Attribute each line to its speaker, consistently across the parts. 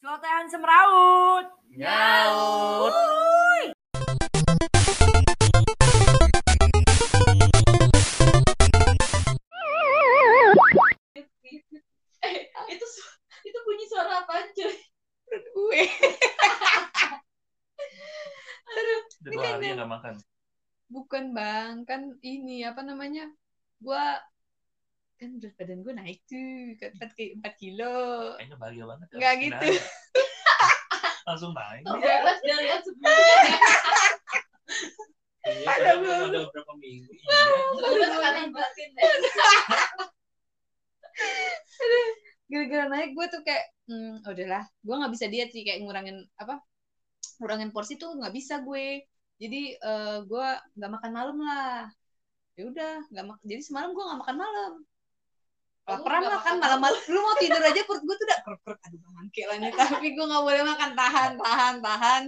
Speaker 1: Kotehan semeraut.
Speaker 2: Nyaut.
Speaker 3: eh itu su- itu bunyi suara apa cuy
Speaker 4: gue
Speaker 3: aduh
Speaker 2: Udah
Speaker 4: Ini
Speaker 2: dua
Speaker 4: kan
Speaker 2: hari
Speaker 4: dia-
Speaker 2: ya nggak makan.
Speaker 4: bukan bang kan ini apa namanya gue kan berat badan gue naik tuh ke empat ki- empat kilo
Speaker 2: Kayaknya bahagia banget. ya.
Speaker 4: Nggak
Speaker 2: Bikin
Speaker 4: gitu.
Speaker 2: aja. Langsung naik.
Speaker 4: Iya.
Speaker 3: tuh bebas dan lihat sebelumnya
Speaker 2: Iya,
Speaker 4: Ada
Speaker 2: padahal
Speaker 4: belum?
Speaker 2: udah berapa minggu. Iya.
Speaker 3: bebas kanan batin deh
Speaker 4: gara-gara naik gue tuh kayak hmm, udahlah gue nggak bisa diet sih kayak ngurangin apa ngurangin porsi tuh nggak bisa gue jadi eh, gue nggak makan malam lah ya udah nggak mak- jadi semalam gue nggak makan malam
Speaker 3: Kamu
Speaker 4: laparan
Speaker 3: nggak
Speaker 4: lah kan
Speaker 3: makan
Speaker 4: malam-malam lu mau tidur aja perut gue tuh udah krek krek aduh bangke lah nih tapi gue nggak boleh makan tahan tahan tahan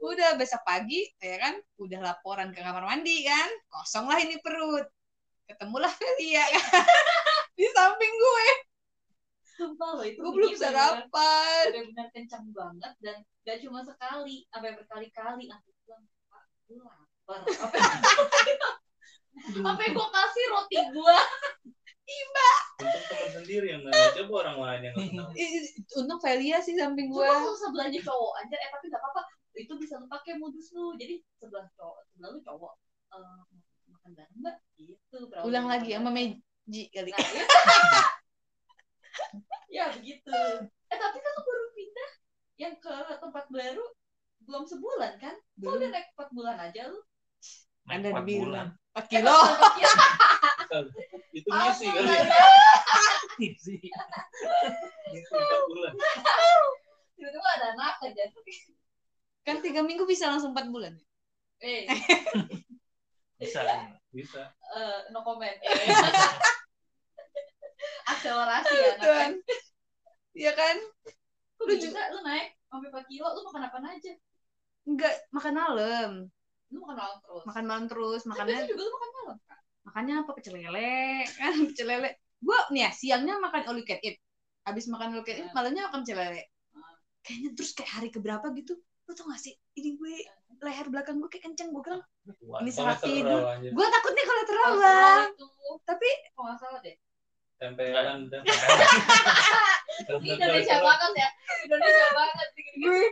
Speaker 4: udah besok pagi ya kan udah laporan ke kamar mandi kan kosong lah ini perut ketemulah Felia kan di samping gue
Speaker 3: sumpah loh itu
Speaker 4: gue belum
Speaker 3: bunyi bener-bener-
Speaker 4: sarapan
Speaker 3: bener-bener kencang banget dan gak cuma sekali sampai berkali-kali aku bilang "Pak, gue lapar apa sampai gue kasih roti gue
Speaker 5: Untuk teman sendiri yang nggak coba orang lain yang nggak kenal.
Speaker 4: Ih, untung Velia sih samping gue
Speaker 3: cuma kalau sebelahnya cowok anjir eh tapi gak apa-apa itu bisa lu pakai modus lu jadi sebelah cowok sebelah lu cowok eh, makan bareng mbak gitu perawatannya
Speaker 4: ulang lagi
Speaker 3: makan
Speaker 4: sama
Speaker 3: bareng.
Speaker 4: Meji kali
Speaker 3: Nah, ya. ya begitu. Eh tapi kan lu baru pindah yang ke tempat baru belum sebulan kan? Lu udah naik 4 bulan aja lu.
Speaker 2: Naik
Speaker 4: Anda
Speaker 2: empat
Speaker 4: bilang.
Speaker 2: bulan.
Speaker 4: empat
Speaker 3: Eh,
Speaker 4: kilo Oh,
Speaker 3: maksudnya iya.
Speaker 5: Itu misi kali ya.
Speaker 2: Tipsi.
Speaker 5: Empat bulan.
Speaker 3: Tiba-tiba ada anak aja.
Speaker 4: kan tiga minggu bisa langsung empat bulan
Speaker 3: Eh,
Speaker 2: Bisa.
Speaker 5: Bisa.
Speaker 3: eh, no comment. Eh, Akselerasi ya
Speaker 4: Tuan.
Speaker 3: anaknya.
Speaker 4: Iya kan
Speaker 3: Lu bisa lu naik sampai 4 kilo, lu makan apa aja?
Speaker 4: enggak makan malam
Speaker 3: Lu makan malam terus.
Speaker 4: makan malam terus
Speaker 3: Kan
Speaker 4: makannya
Speaker 3: biasanya juga lu makan malam. Kak.
Speaker 4: makannya apa pecel lele kan pecel lele gue nih ya siangnya makan all you can eat abis makan all you can eat malamnya makan pecel lele kayaknya terus kayak hari keberapa gitu lu tau gak sih ini gue leher belakang gue kayak kenceng gue bilang
Speaker 2: Wah,
Speaker 4: Ini
Speaker 5: Kalau
Speaker 4: salah tidur.
Speaker 5: terlalu aja.
Speaker 4: gue takutnya kolateral
Speaker 3: Kalau
Speaker 4: bang
Speaker 3: itu
Speaker 4: tapi
Speaker 3: kalau nggak salah deh.
Speaker 5: Tempelan dan
Speaker 3: Ini Indonesia banget ya. Indonesia banget.
Speaker 4: gue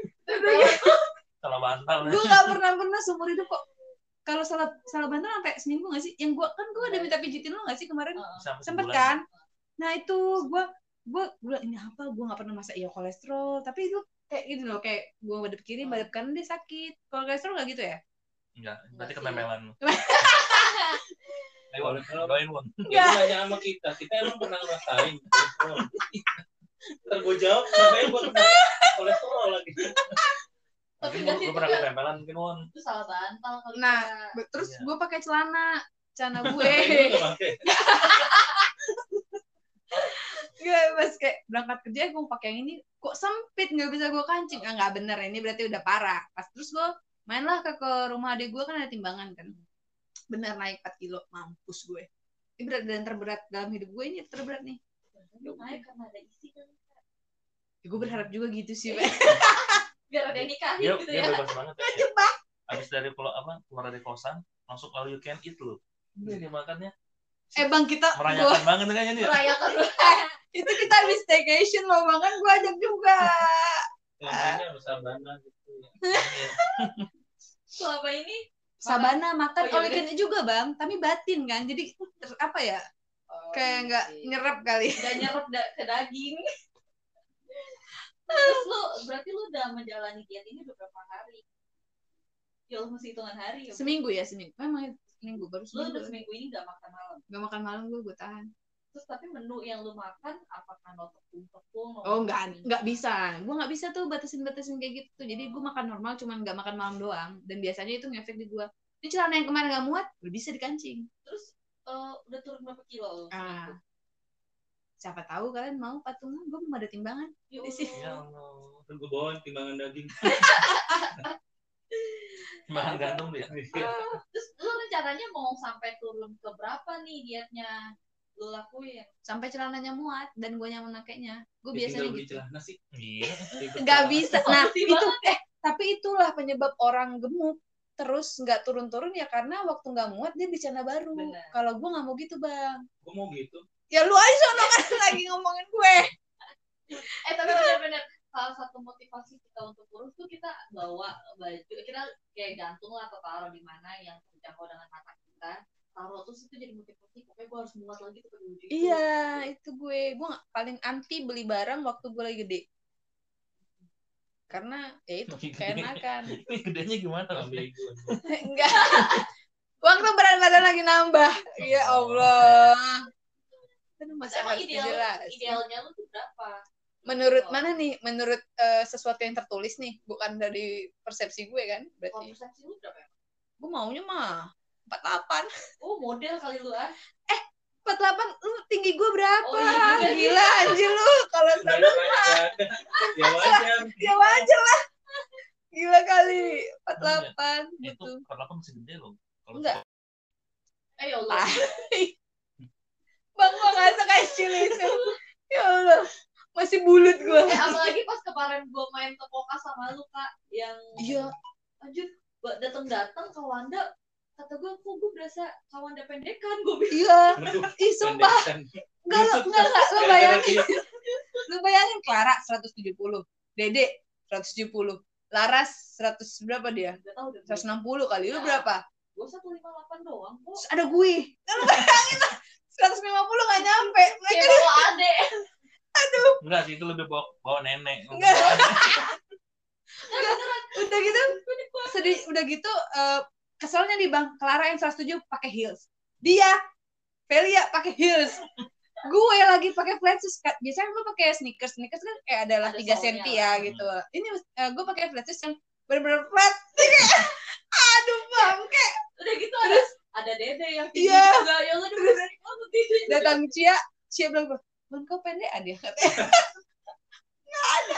Speaker 2: Kalau bantal. ya.
Speaker 4: gue gak pernah pernah seumur hidup kok kalau salah salah bantal sampai seminggu gak sih yang gue kan gue udah minta pijitin lo gak sih kemarin
Speaker 3: Oh,
Speaker 4: sempet kan nah itu gue gue gue ini apa gue nggak pernah masa iya kolesterol tapi itu kayak gitu loh kayak gue badep kiri badep kanan dia sakit Kalau kolesterol gak gitu ya
Speaker 2: Enggak, berarti
Speaker 3: Enggak sih.
Speaker 2: ketempelan lu. Ayo,
Speaker 5: Boleh, kalau-
Speaker 2: doain Won.
Speaker 5: Dia nanya sama kita, kita emang pernah ngerasain. kolesterol. Ntar gue jawab, makanya gue kena kolesterol lagi.
Speaker 3: Tapi Ah,
Speaker 2: Mungkin
Speaker 3: nggak
Speaker 2: lu-
Speaker 3: sih,
Speaker 2: lu pernah
Speaker 3: itu-
Speaker 2: ketempelan mungkin Won.
Speaker 3: itu salah bantal kali ya.
Speaker 4: Nah.
Speaker 3: Kak.
Speaker 4: Be- terus
Speaker 2: Iya.
Speaker 4: gue pakai celana celana gue
Speaker 5: Makanya gua nggak pakai.
Speaker 4: gak pas kayak berangkat kerja gue pakai yang ini kok sempit nggak bisa gue kancing ah nggak bener ini berarti udah parah pas terus gue mainlah ke, ke rumah adik gue kan ada timbangan kan bener naik 4 kilo mampus gue ini berat dan terberat dalam hidup gue ini terberat nih
Speaker 3: Lu naik karena ada isi kan
Speaker 4: ya, gue berharap juga gitu sih Pak.
Speaker 3: biar ada yang nikahin
Speaker 2: Dia
Speaker 3: gitu
Speaker 2: dia
Speaker 3: ya
Speaker 2: bebas banget. ya.
Speaker 4: Jebak.
Speaker 2: Abis dari pulau apa keluar dari kosan langsung all you can eat lu. Ini dia makannya
Speaker 4: eh bang kita gua,
Speaker 2: merayakan banget kayaknya nih.
Speaker 3: Iya. merayakan
Speaker 4: itu kita habis staycation mau makan gue ajak juga
Speaker 2: Iya,
Speaker 5: Namanya harus sabana gitu.
Speaker 3: selama ini
Speaker 4: sabana makan
Speaker 3: Oh, iya,
Speaker 4: all you can eat juga bang tapi batin kan jadi ter- apa ya
Speaker 3: oh,
Speaker 4: kayak
Speaker 3: iya
Speaker 4: nggak
Speaker 3: sih.
Speaker 4: nyerap kali
Speaker 3: nggak nyerap da- ke daging terus lu berarti lu udah menjalani diet ini udah berapa hari ya lu mesti hitungan hari ya
Speaker 4: seminggu ya seminggu memang seminggu baru
Speaker 3: lu
Speaker 4: seminggu
Speaker 3: udah seminggu ini nggak makan malam
Speaker 4: Gak makan malam gue, gue tahan.
Speaker 3: terus tapi menu yang lu makan apakah no tepung tepung no-
Speaker 4: Oh enggak, enggak bisa. Gue nggak bisa tuh batasin-batasin kayak gitu. Jadi gue makan normal, cuman nggak makan malam doang. Dan biasanya itu ngefek di gue. Ini celana yang kemarin nggak muat, udah bisa dikancing.
Speaker 3: terus eh, udah turun berapa kilo lu
Speaker 4: Ah. Siapa tahu kalian mau patungan, gue mau ada timbangan.
Speaker 3: Ya
Speaker 4: Isi.
Speaker 3: Allah.
Speaker 2: Ya Allah.
Speaker 5: Ntar gue bawain timbangan daging.
Speaker 3: Iya.
Speaker 2: Makan gantung dia.
Speaker 3: Terus lu rencananya mau sampai turun ke berapa nih dietnya? lu lakuin
Speaker 4: sampai celananya muat dan gue nyaman pakainya gue
Speaker 5: Ya,
Speaker 4: biasanya
Speaker 5: tinggal beli
Speaker 4: gitu
Speaker 5: celana sih.
Speaker 2: Iya.
Speaker 4: nggak bisa nah
Speaker 3: Solusi
Speaker 4: itu eh tapi itulah penyebab orang gemuk terus nggak turun-turun ya karena waktu nggak muat dia beli celana baru
Speaker 3: Benar.
Speaker 4: kalau gue nggak mau gitu bang
Speaker 5: Gue mau gitu.
Speaker 4: ya lu aja sono kan lagi ngomongin gue
Speaker 3: eh tapi benar-benar salah satu motivasi kita untuk kurus tuh kita bawa baju kita kayak gantung lah atau taruh di mana yang terjangkau dengan mata kita taruh terus itu jadi motivasi pokoknya gue harus muat lagi tuh pakai baju itu.
Speaker 4: iya itu gue gue nggak- paling anti beli barang waktu gue lagi gede karena ya itu keenakan
Speaker 2: Ini gedenya gimana?
Speaker 3: Iya.
Speaker 2: Bang?
Speaker 5: Ambil gue.
Speaker 4: enggak waktu berat badan lagi nambah ya allah Aduh,
Speaker 3: Terus
Speaker 4: masa
Speaker 3: emang
Speaker 4: harus
Speaker 3: ideal
Speaker 4: dijelasin?
Speaker 3: idealnya lu tuh berapa Gitu.
Speaker 4: menurut
Speaker 3: Kalau-
Speaker 4: mana nih menurut eh, sesuatu yang tertulis nih bukan dari persepsi gue kan
Speaker 3: kalau
Speaker 4: berarti
Speaker 3: persepsi lu berapa ya?
Speaker 4: gue maunya mah 48
Speaker 3: oh model kali lu ah
Speaker 4: 48 lu tinggi gue berapa
Speaker 3: Oh, iya juga sih.
Speaker 4: gila anjir lu kalau
Speaker 5: Nggak
Speaker 4: selalu
Speaker 5: ada. Ya wajar.
Speaker 4: ya wajar lah gila kali
Speaker 2: Iya,
Speaker 4: 48
Speaker 2: Itu
Speaker 4: gitu
Speaker 2: kalau aku masih gede loh. Kalau
Speaker 4: Enggak.
Speaker 3: eh ya Allah
Speaker 4: Ah. bang gue nggak suka kecil itu ya allah masih bulut gue
Speaker 3: eh, apalagi pas kemarin gue main ke Poka sama lu kak yang
Speaker 4: iya
Speaker 3: lanjut datang datang ke Wanda kata gue kok gue berasa Kawanda pendekan gue kan?" bilang
Speaker 4: iya
Speaker 5: Aduh, kan.
Speaker 4: ih sumpah
Speaker 5: pendekan.
Speaker 4: enggak lu enggak enggak lu
Speaker 5: Gara-gara
Speaker 4: bayangin
Speaker 5: dia.
Speaker 4: lu bayangin Clara 170 Dede 170 Laras 100 berapa dia
Speaker 3: gak tau udah
Speaker 4: 160 kali lu berapa
Speaker 3: gue satu lima delapan doang kok
Speaker 4: Terus ada gue Nah, lu bayangin lah 150 gak nyampe mereka
Speaker 3: kayak bawa ade
Speaker 2: Enggak sih itu lebih bawa, bawa nenek.
Speaker 4: Enggak. udah gitu sedih udah gitu eh, keselnya nih bang Clara yang 170 pakai heels dia Velia pakai heels gue lagi pakai flat shoes Ka- biasanya gue pakai sneakers sneakers kan kayak adalah
Speaker 3: Ada
Speaker 4: tiga
Speaker 3: solnya.
Speaker 4: senti ya gitu ini eh, gue pakai flat shoes yang bener-bener flat aduh bang
Speaker 3: udah gitu ada ada dede yang tinggi
Speaker 4: Iya.
Speaker 3: juga ya lu udah berani banget Nah, tinggi
Speaker 4: datang Cia Cia bilang bang kau pendekan ya katanya nggak ada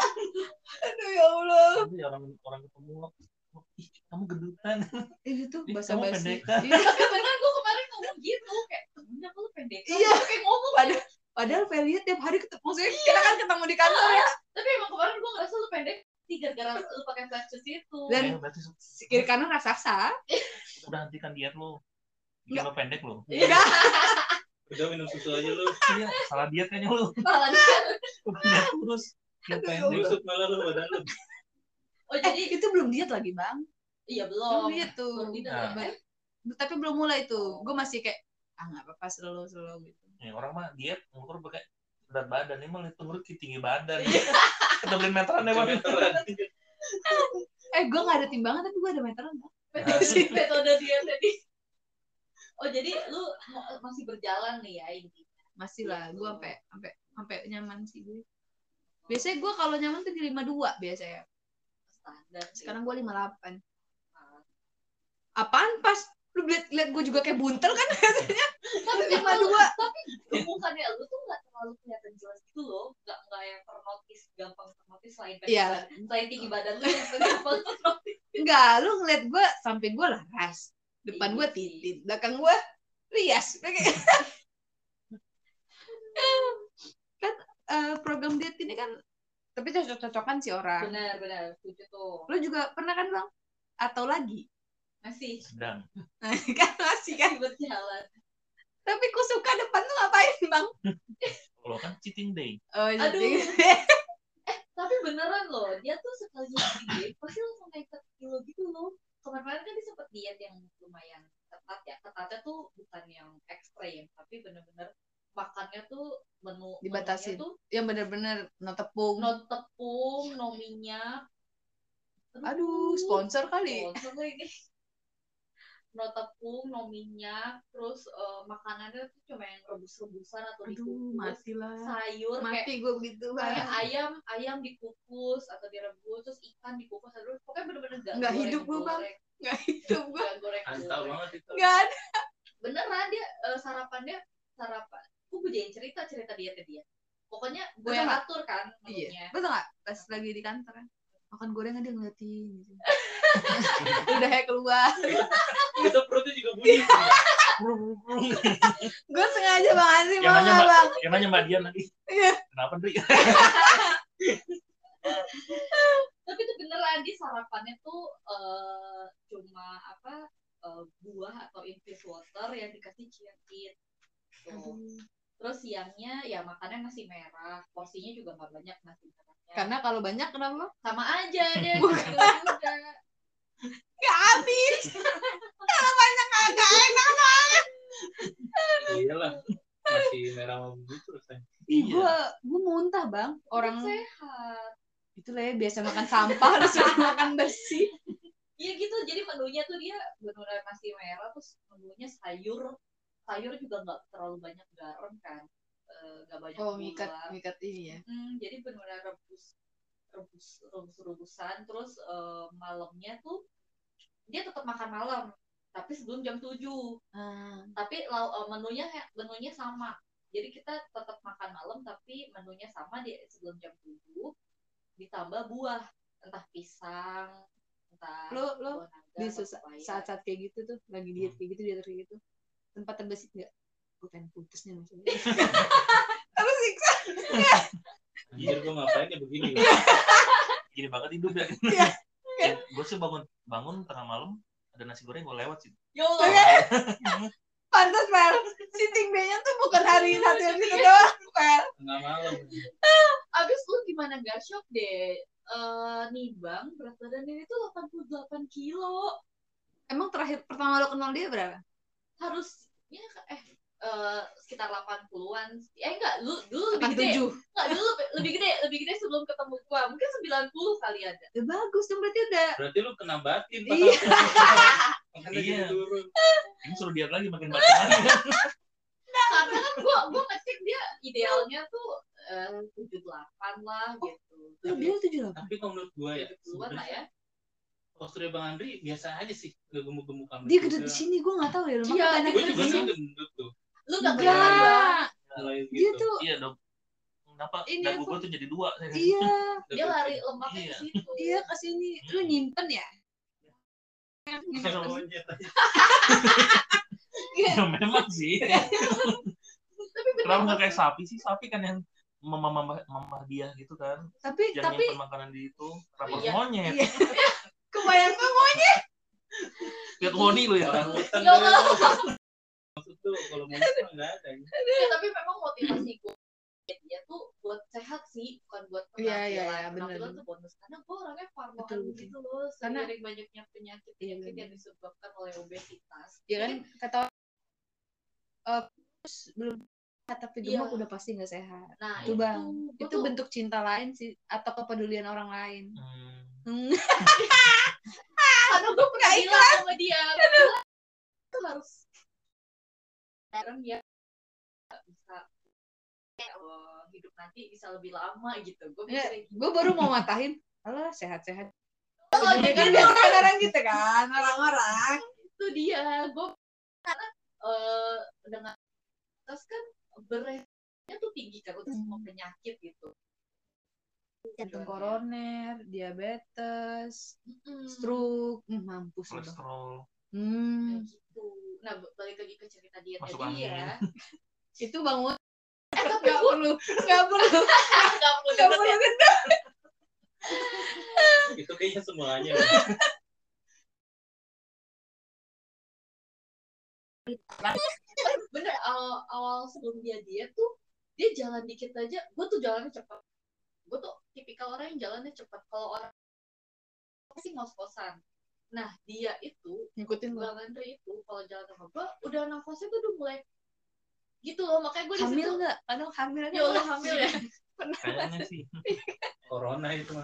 Speaker 4: aduh ya allah
Speaker 2: Nanti orang orang ketemu lo, "Oh, ih, kamu gendutan.
Speaker 4: itu tuh
Speaker 2: Ih,
Speaker 4: bahasa
Speaker 2: kamu
Speaker 4: basi Iya.
Speaker 2: pendekan.
Speaker 3: tapi beneran gue kan kemarin ngomong gitu kayak bener lu pendekan
Speaker 4: Iya.
Speaker 3: Gua kayak ngomong
Speaker 4: padahal padahal Velia tiap hari ketemu maksudnya
Speaker 3: Iya.
Speaker 4: kita kan ketemu di kantor ya
Speaker 3: tapi emang kemarin gue ngerasa lu pendek sih gara-gara lu pakai flat shoes itu
Speaker 4: Dan-
Speaker 2: Ya, berarti su-
Speaker 4: Si kiri kanan raksasa
Speaker 2: udah hentikan diet lo. Bikin lo pendek lo.
Speaker 4: enggak
Speaker 5: Udah minum susu aja lu.
Speaker 2: Iya, salah diet kayaknya lo.
Speaker 3: Malah dia-
Speaker 2: Diet kurus. Diet
Speaker 4: Aduh, ya
Speaker 2: pendek.
Speaker 5: Busuk malah lu badan lu.
Speaker 3: oh
Speaker 4: eh,
Speaker 3: jadi
Speaker 4: itu belum diet lagi bang
Speaker 3: iya
Speaker 4: belum
Speaker 3: belum
Speaker 4: diet tuh Iya.
Speaker 3: belum diet,
Speaker 2: Nah.
Speaker 3: ya.
Speaker 4: tapi belum mulai tuh gue masih kayak ah nggak apa-apa slow slow gitu
Speaker 2: Ya, orang mah diet ngukur pakai berat badan. Ini malah itu ngurut ke tinggi badan.
Speaker 4: Iya.
Speaker 2: Kedebelin meteran ya, Bang.
Speaker 5: Meteran.
Speaker 4: eh gue nggak ada timbangan tapi gue ada meteran Bang.
Speaker 3: metode metode diet tadi oh jadi lu ma- masih berjalan nih ya ini
Speaker 4: masih lah gue sampai sampai sampai nyaman sih gue biasanya gue kalau nyaman tuh di 52 biasanya
Speaker 3: standar sih.
Speaker 4: sekarang gue 58 apaan pas lu liat, liat gue juga kayak buntel kan biasanya
Speaker 3: tapi
Speaker 4: lima
Speaker 3: kalau-
Speaker 4: dua.
Speaker 3: tapi bukannya lu tuh nggak terlalu kelihatan jelas gitu loh nggak nggak yang ternotis gampang ternotis selain pendek
Speaker 4: Iya.
Speaker 3: badan. selain tinggi badan lu yang gampang ternotis
Speaker 4: enggak lu ngeliat gue samping gue laras depan gue
Speaker 3: Iya sih.
Speaker 4: titit belakang gue rias Udah kayak- kan eh, program diet ini kan tapi cocok-cocokan sih orang
Speaker 3: benar benar setuju tuh
Speaker 4: lu juga pernah kan bang atau lagi
Speaker 3: masih
Speaker 2: Sedang.
Speaker 4: kan masih kan
Speaker 3: masih berjalan
Speaker 4: tapi kusuka depan tuh ngapain bang
Speaker 2: Kalau kan cheating day.
Speaker 4: oh,
Speaker 3: Aduh.
Speaker 4: jadi-
Speaker 3: tapi beneran loh dia tuh sekali diet pasti langsung naik satu kilo gitu loh kemarin kan dia sempet diet yang lumayan ketat ya ketatnya tuh bukan yang ekstrem tapi bener-bener makannya tuh menu menunya
Speaker 4: Dibatasin.
Speaker 3: tuh
Speaker 4: yang bener-bener no tepung
Speaker 3: no tepung no minyak
Speaker 4: aduh sponsor kali
Speaker 3: sponsor lagi no tepung no minyak terus eh, makanannya tuh cuma yang rebus-rebusan atau
Speaker 4: aduh
Speaker 3: dikukus
Speaker 4: mati lah
Speaker 3: sayur kayak
Speaker 4: mati gue begitu
Speaker 3: kayak
Speaker 4: Bang.
Speaker 3: ayam ayam dikukus atau direbus terus ikan dikukus terus pokoknya bener-bener gak
Speaker 4: Nggak hidup gua, Bang. nggak hidup gue
Speaker 3: goreng
Speaker 5: Antau banget itu.
Speaker 4: nggak ada
Speaker 3: beneran dia eh, sarapannya sarapan aku gue jadiin cerita cerita dietnya dia pokoknya gue
Speaker 4: Betul
Speaker 3: yang
Speaker 4: nggak?
Speaker 3: atur kan
Speaker 4: iya
Speaker 3: menunya
Speaker 4: betul nggak pas lagi di kantor kan, makan gorengan dia ngeliatin gitu. Ludahnya keluar.
Speaker 5: Itu perutnya juga bunyi.
Speaker 4: Gue sengaja Bang Azim
Speaker 2: Yang
Speaker 4: mau
Speaker 2: nanya,
Speaker 4: nggak
Speaker 2: Mbak.
Speaker 4: Bang?
Speaker 2: Yang nanya Mbak Dian tadi.
Speaker 4: Iya.
Speaker 2: Kenapa, Dri?
Speaker 3: tapi itu beneran dia sarapannya tuh eh, cuma apa eh, buah atau infused water yang dikasih chia seed tuh. terus siangnya ya makannya nasi merah porsinya juga nggak banyak nasi merahnya
Speaker 4: Karena kalau banyak kenapa?
Speaker 3: sama aja dia
Speaker 4: Bukan.
Speaker 3: gitu juga
Speaker 4: Gak habis. kalau banyak agak enak.
Speaker 5: Iyalah. Masih merah sama begitu rasanya.
Speaker 2: Iya,
Speaker 4: Gue gue muntah bang. Orang
Speaker 3: sehat
Speaker 4: itu lah ya biasa makan sampah disuruh makan bersih.
Speaker 3: Iya gitu, jadi menunya tuh dia benar nasi merah, terus menunya sayur, sayur juga nggak terlalu banyak garam kan, Eh, nggak banyak
Speaker 4: Oh
Speaker 3: gula.
Speaker 4: mikat mikat ini ya.
Speaker 3: Hmm, jadi benar rebus, rebus, rebus rebusan, terus eh, malamnya tuh dia tetap makan malam, tapi sebelum jam 7
Speaker 4: Ah.
Speaker 3: tapi lau- eh, menunya menunya sama jadi kita tetap makan malam tapi menunya sama di sebelum jam 7 ditambah buah entah pisang entah ya.
Speaker 4: Lo- lo
Speaker 3: buah naga,
Speaker 4: di
Speaker 3: atau
Speaker 4: susa-
Speaker 3: pepaya.
Speaker 4: saat-saat kayak gitu tuh lagi diet kayak gitu diet kayak gitu tempat terbesit nggak? Gue pengen putus nih maksudnya. Terus siksa.
Speaker 5: Anjir gue ngapain ya begini.
Speaker 2: Gini banget hidup ya.
Speaker 4: Iya.
Speaker 2: Gue sih bangun bangun tengah malam ada nasi goreng gue lewat sih.
Speaker 3: ya Allah
Speaker 4: Makanya- Pantas Mel. Sitting B-nya tuh bukan hari satu yang itu doang Mel.
Speaker 5: Tengah malam.
Speaker 3: abis lu gimana gak shock deh Eh, nimbang berat badan ini tuh 88 kilo
Speaker 4: Emang terakhir pertama lo kenal dia berapa?
Speaker 3: harusnya eh eh, sekitar 80-an eh enggak lu dulu
Speaker 4: Akan
Speaker 3: lebih gede
Speaker 4: tujuh.
Speaker 3: enggak dulu lebih- lebih gede lebih gede sebelum ketemu gua mungkin 90 kali ada
Speaker 4: Ya, bagus dong berarti udah.
Speaker 5: Berarti lu kena batin. Pak.
Speaker 4: Iya.
Speaker 5: Makanya
Speaker 2: Iya.
Speaker 5: jadi turun.
Speaker 2: Ini suruh diet lagi makin batin lagi.
Speaker 3: karena kan gua gua ngecek dia idealnya tuh eh, tujuh delapan lah gitu
Speaker 4: Oh, dia tujuh delapan.
Speaker 5: Tapi kalau menurut gue ya.
Speaker 3: duluan lah ya
Speaker 5: Posturnya Bang Andri biasa aja sih. Gak gemuk-gemuk amat.
Speaker 4: Dia gede di
Speaker 5: Juga.
Speaker 4: sini, gue gak tahu ya.
Speaker 3: Iya,
Speaker 4: Makanya
Speaker 3: dia
Speaker 5: Gue
Speaker 4: banyak
Speaker 5: juga
Speaker 4: di
Speaker 5: sih
Speaker 4: sini.
Speaker 5: gendut tuh.
Speaker 3: lu gak
Speaker 4: Iya.
Speaker 3: kelihatan Bang.
Speaker 5: Mulai
Speaker 4: Dia
Speaker 5: gitu.
Speaker 4: tuh,
Speaker 2: Iya dong. Kenapa
Speaker 4: Ini
Speaker 2: dagu
Speaker 4: aku-
Speaker 2: gue tuh jadi dua?
Speaker 4: iya,
Speaker 3: dia lari lemaknya
Speaker 2: Iya.
Speaker 3: ke situ
Speaker 4: dia ke sini. Lu nyimpen ya?
Speaker 5: Sama
Speaker 4: Iya.
Speaker 5: monyet aja.
Speaker 2: Ya, memang sih.
Speaker 3: tapi bener
Speaker 2: Kenapa nggak kayak sapi sih? Sapi kan yang mama mama mama dia gitu kan.
Speaker 4: Tapi,
Speaker 2: Yang
Speaker 4: tapi,
Speaker 2: nyimpen makanan di itu rapor
Speaker 3: Iya.
Speaker 2: monyet.
Speaker 4: iya. Kebayang gue mau
Speaker 2: Lihat Woni lu ya.
Speaker 5: Orang hutan
Speaker 3: Ya Allah.
Speaker 5: lu. Maksud tuh kalau monyet mah nggak ada.
Speaker 3: Ya, tapi memang motivasi gue dia tuh buat sehat sih bukan buat
Speaker 4: Iya,
Speaker 3: penampilan
Speaker 4: iya, iya,
Speaker 3: penampilan
Speaker 4: bener.
Speaker 3: tuh bonus karena gue orangnya
Speaker 4: Betul,
Speaker 3: farmakan
Speaker 4: betul.
Speaker 3: gitu loh
Speaker 4: Karena-
Speaker 3: seiring banyaknya penyakit
Speaker 4: Iya,
Speaker 3: penyakit
Speaker 4: bener.
Speaker 3: yang disebabkan oleh obesitas
Speaker 4: Iya kan, kata Eh, terus belum sehat, tapi
Speaker 3: Iya.
Speaker 4: gemuk udah pasti gak sehat.
Speaker 3: nah
Speaker 4: Itu,
Speaker 3: itu
Speaker 4: Bang.
Speaker 3: gua
Speaker 4: Itu
Speaker 3: tuh-
Speaker 4: bentuk cinta lain sih, atau kepedulian orang lain.
Speaker 2: Hmm.
Speaker 4: Hmm.
Speaker 3: karena gue pernah
Speaker 4: Nggak
Speaker 3: bilang sama dia gue bilang, "Lu harus sekarang ya nggak bisa eh, hidup nanti bisa lebih lama gitu gue
Speaker 4: Iya.
Speaker 3: mikirnya gitu
Speaker 4: gue baru mau matahin, alah sehat-sehat.
Speaker 3: Oh,
Speaker 4: Iya
Speaker 3: jadi
Speaker 4: kan biasa orang gitu kan, orang-orang.
Speaker 3: itu dia gue karena eh, dengan terus kan beresnya tuh tinggi kan untuk semua
Speaker 4: Hmm.
Speaker 3: penyakit gitu
Speaker 4: Jantung koroner, diabetes,
Speaker 3: Mm-mm.
Speaker 4: stroke, Hmm, mampus lu, Bang.
Speaker 2: Kolesterol.
Speaker 3: Kayak
Speaker 4: Hmm.
Speaker 3: gitu nah balik lagi ke cerita dia
Speaker 2: Masuk
Speaker 3: tadi
Speaker 2: angin.
Speaker 3: ya
Speaker 4: Itu
Speaker 3: Eh,
Speaker 4: bangun. Gak perlu, gak perlu,
Speaker 3: Nggak perlu
Speaker 4: gak
Speaker 3: denger
Speaker 4: perlu
Speaker 3: ya.
Speaker 4: kan?
Speaker 5: Itu kayaknya semuanya.
Speaker 3: bener awal, awal sebelum dia diet tuh dia jalan dikit aja gue tuh jalannya cepat gue tuh tipikal orang yang jalannya cepat kalau orang pasti ngos-kosan nah dia itu
Speaker 4: Ngikutin gua.
Speaker 3: Bang Andri itu kalau jalan sama gue udah nafasnya tuh udah mulai gitu loh makanya gue
Speaker 4: Hamil gak? Kadang hamil aja.
Speaker 3: ya Allah hamil ya
Speaker 2: Kayaknya sih.
Speaker 5: Corona itu mah.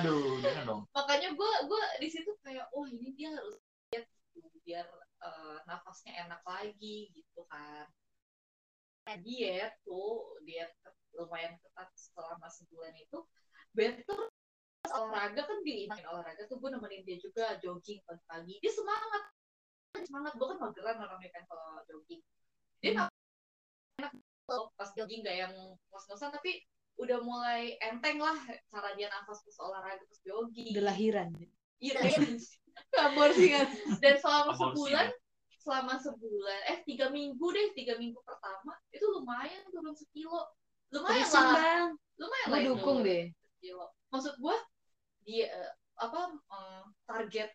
Speaker 2: Aduh, jangan dong.
Speaker 3: makanya gue gue di situ kayak wah ini dia harus diet gitu, biar eh, nafasnya enak lagi gitu kan Nah, diet tuh diet lumayan ketat selama sebulan itu better Pas olahraga kan di main olahraga tuh gue nemenin dia juga jogging pagi-pagi dia semangat semangat gue kan mageran orangnya kan kalau jogging dia enak enak pas jogging gak yang ngos-ngosan tapi udah mulai enteng lah cara dia nafas pas olahraga pas jogging
Speaker 4: Udah lahiran.
Speaker 3: Iya, dan-
Speaker 4: aborsi kan
Speaker 3: dan selama
Speaker 2: Aborsi.
Speaker 3: sebulan selama sebulan eh tiga minggu deh tiga minggu pertama itu lumayan turun sekilo lumayan
Speaker 4: terusin
Speaker 3: lah
Speaker 4: bang
Speaker 3: lumayan
Speaker 4: gue
Speaker 3: lah itu.
Speaker 4: dukung deh
Speaker 3: Gila. Maksud gue dia eh, apa eh, target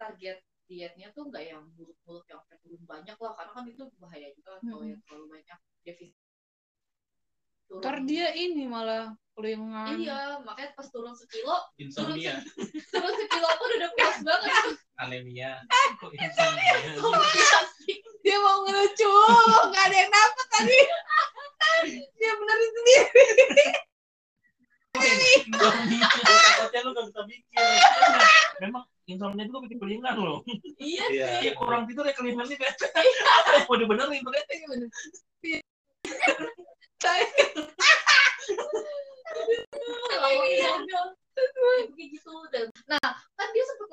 Speaker 3: target dietnya tuh nggak yang muluk-muluk yang sampai turun banyak lah karena kan itu bahaya juga kan kalau
Speaker 4: Mm-mm.
Speaker 3: yang terlalu banyak defisit. Turun.
Speaker 4: ntar dia ini malah kelingan
Speaker 3: Iya, makanya pas turun sekilo,
Speaker 5: insomnia
Speaker 3: turun sekilo pun udah puas banget.
Speaker 5: anemia
Speaker 4: Eh.
Speaker 2: Kok insomnia?
Speaker 4: dia mau ngelucu nggak ada yang dapat tadi dia benerin sendiri
Speaker 2: Insomnia.
Speaker 5: Gua takutnya lu gak bisa bikin
Speaker 2: Memang insomnia itu bikin kelingan loh.
Speaker 3: iya,
Speaker 5: Iya.
Speaker 2: Iya kurang tidur ya kelingannya kayak. Mau dibenerin tuh
Speaker 4: Iya, bener. Saya
Speaker 3: kalau iya dong. Kayak gitu dan nah kan dia sempet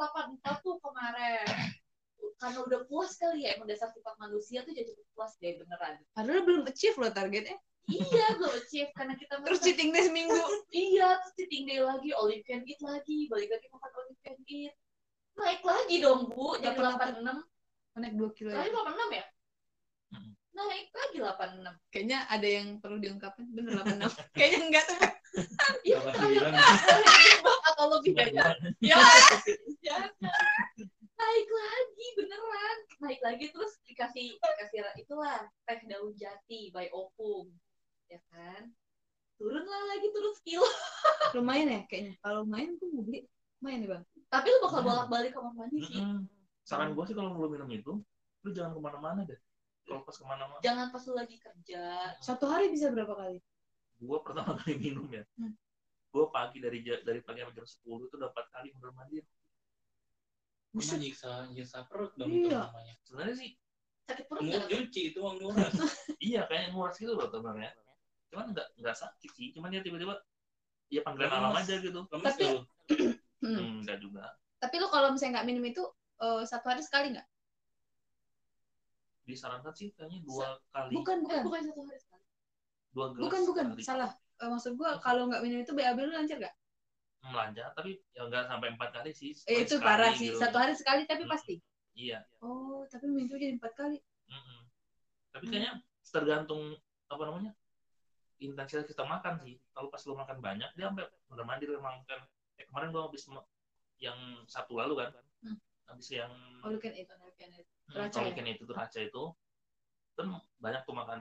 Speaker 3: 84 tuh kemarin karena udah puas kali ya emang dasar sifat manusia tuh jadi puas deh beneran
Speaker 4: padahal belum achieve loh targetnya
Speaker 3: iya belum achieve karena kita
Speaker 4: terus
Speaker 3: merasa-
Speaker 4: cheating deh seminggu
Speaker 3: iya terus cheating day lagi olive can eat lagi balik lagi makan olive can eat naik lagi dong bu jadi
Speaker 4: Dapat-
Speaker 3: 86
Speaker 4: naik 2 kilo ya
Speaker 3: tadi 86 ya
Speaker 2: Mm.
Speaker 3: naik lagi 86
Speaker 4: kayaknya ada yang perlu diungkapin bener 86 kayaknya enggak tuh
Speaker 3: iya
Speaker 5: Delapan
Speaker 3: naik
Speaker 5: sembilan.
Speaker 3: lagi. atau lebih banyak
Speaker 2: kayak.
Speaker 3: ya jangan. naik lagi beneran naik lagi terus dikasih dikasih ra- itulah teh daun jati by opung ya kan turunlah lagi turun skill
Speaker 4: lumayan ya kayaknya kalau main gue mau beli main nih bang
Speaker 3: tapi lu bakal bolak balik kamar mandi sih
Speaker 2: Mm-mm. Hmm. Saran gue sih kalau lu minum itu, lu jangan kemana-mana deh. Kalau pas kemana-mana,
Speaker 3: jangan pas lu lagi kerja
Speaker 4: satu hari bisa berapa kali
Speaker 2: gue pertama kali minum ya.
Speaker 4: Hmm.
Speaker 2: Gue pagi dari ja- dari pagi sampai jam 10 itu dapat kali mundur mandir.
Speaker 5: Emang
Speaker 4: buset
Speaker 5: nyiksa nyiksa perut dong itu
Speaker 4: Iya.
Speaker 5: namanya
Speaker 2: Sebenarnya sih,
Speaker 3: sakit perut
Speaker 5: Nggak
Speaker 3: nggak?
Speaker 5: nyuci itu uang murah
Speaker 2: iya kayak nguras gitu loh sebenarnya. Cuman nggak nggak sakit sih, cuman dia tiba-tiba ya panggilan
Speaker 5: Lemes.
Speaker 2: alam aja gitu.
Speaker 5: lemes
Speaker 4: Tapi-
Speaker 5: ya lu
Speaker 4: Hmm.
Speaker 2: Hmm, enggak juga.
Speaker 4: tapi lu kalau misalnya nggak minum itu eh, satu hari sekali nggak
Speaker 2: Disarankan sih kayaknya dua kali,
Speaker 4: bukan bukan
Speaker 3: Eh, bukan satu hari sekali
Speaker 2: dua gelas.
Speaker 4: bukan bukan
Speaker 2: kali.
Speaker 4: salah Eh, maksud gue kalau nggak minum itu BAB lu lancar nggak
Speaker 2: Melanjak, tapi ya nggak sampai empat kali sih.
Speaker 4: eh, itu
Speaker 2: Sekali
Speaker 4: parah sih
Speaker 2: gitu.
Speaker 4: satu hari sekali tapi pasti
Speaker 2: Iya.
Speaker 4: oh tapi minggu jadi empat kali
Speaker 2: Mm-mm. Tapi
Speaker 4: Hmm.
Speaker 2: kayaknya tergantung apa namanya intensitas kita makan sih. Kalau pas lu makan banyak dia sampai bener mandir memang kan. Eh, kemarin gua habis me- yang satu lalu kan,
Speaker 4: Hmm. Oh,
Speaker 2: habis yang
Speaker 4: all you can eat
Speaker 3: Bukan weekend itu.
Speaker 2: hmm,
Speaker 4: raca
Speaker 2: kalau
Speaker 4: ya?
Speaker 2: weekend itu tuh raca itu kan banyak tuh makan.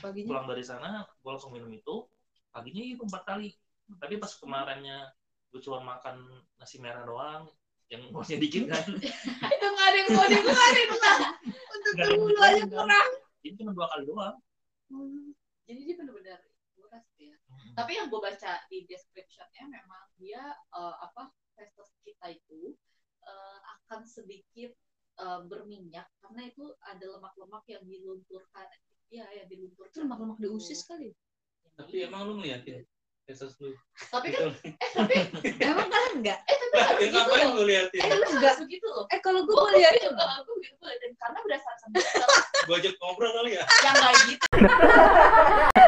Speaker 4: paginya
Speaker 2: Pulang dari sana gua langsung minum itu paginya itu empat kali. Tapi pas kemarinnya gua cuma makan nasi merah doang yang ngosnya dikit kan.
Speaker 4: itu nggak ada yang mau dikeluarin lah untuk
Speaker 2: Nggak ada yang
Speaker 4: dulu
Speaker 2: mau
Speaker 4: aja
Speaker 2: dikeluarin,
Speaker 4: kurang
Speaker 2: Jadi cuma dua kali doang.
Speaker 3: jadi dia benar-benar kurang ya tapi yang gue baca di descriptionnya memang dia eh, apa testes kita itu eh, akan sedikit eh, berminyak karena itu ada lemak-lemak yang dilunturkan ya yang dilunturkan Gitu.
Speaker 4: itu lemak-lemak di usus kali
Speaker 5: tapi emang lu ngeliatin Yesus lu
Speaker 3: tapi kan
Speaker 5: Gitu.
Speaker 3: eh tapi
Speaker 4: emang kan enggak
Speaker 3: eh tapi harus
Speaker 5: Ya,
Speaker 3: gitu
Speaker 5: ngapain
Speaker 3: loh
Speaker 5: lu liatin
Speaker 3: eh tapi
Speaker 4: Enggak.
Speaker 3: harus gitu loh
Speaker 4: eh kalau gue
Speaker 3: gue
Speaker 2: Oh,
Speaker 4: mau lihat
Speaker 2: iya.
Speaker 3: gitu gue gitu dan karena berdasarkan
Speaker 5: gua ajak ngobrol kali ya
Speaker 3: yang kayak gitu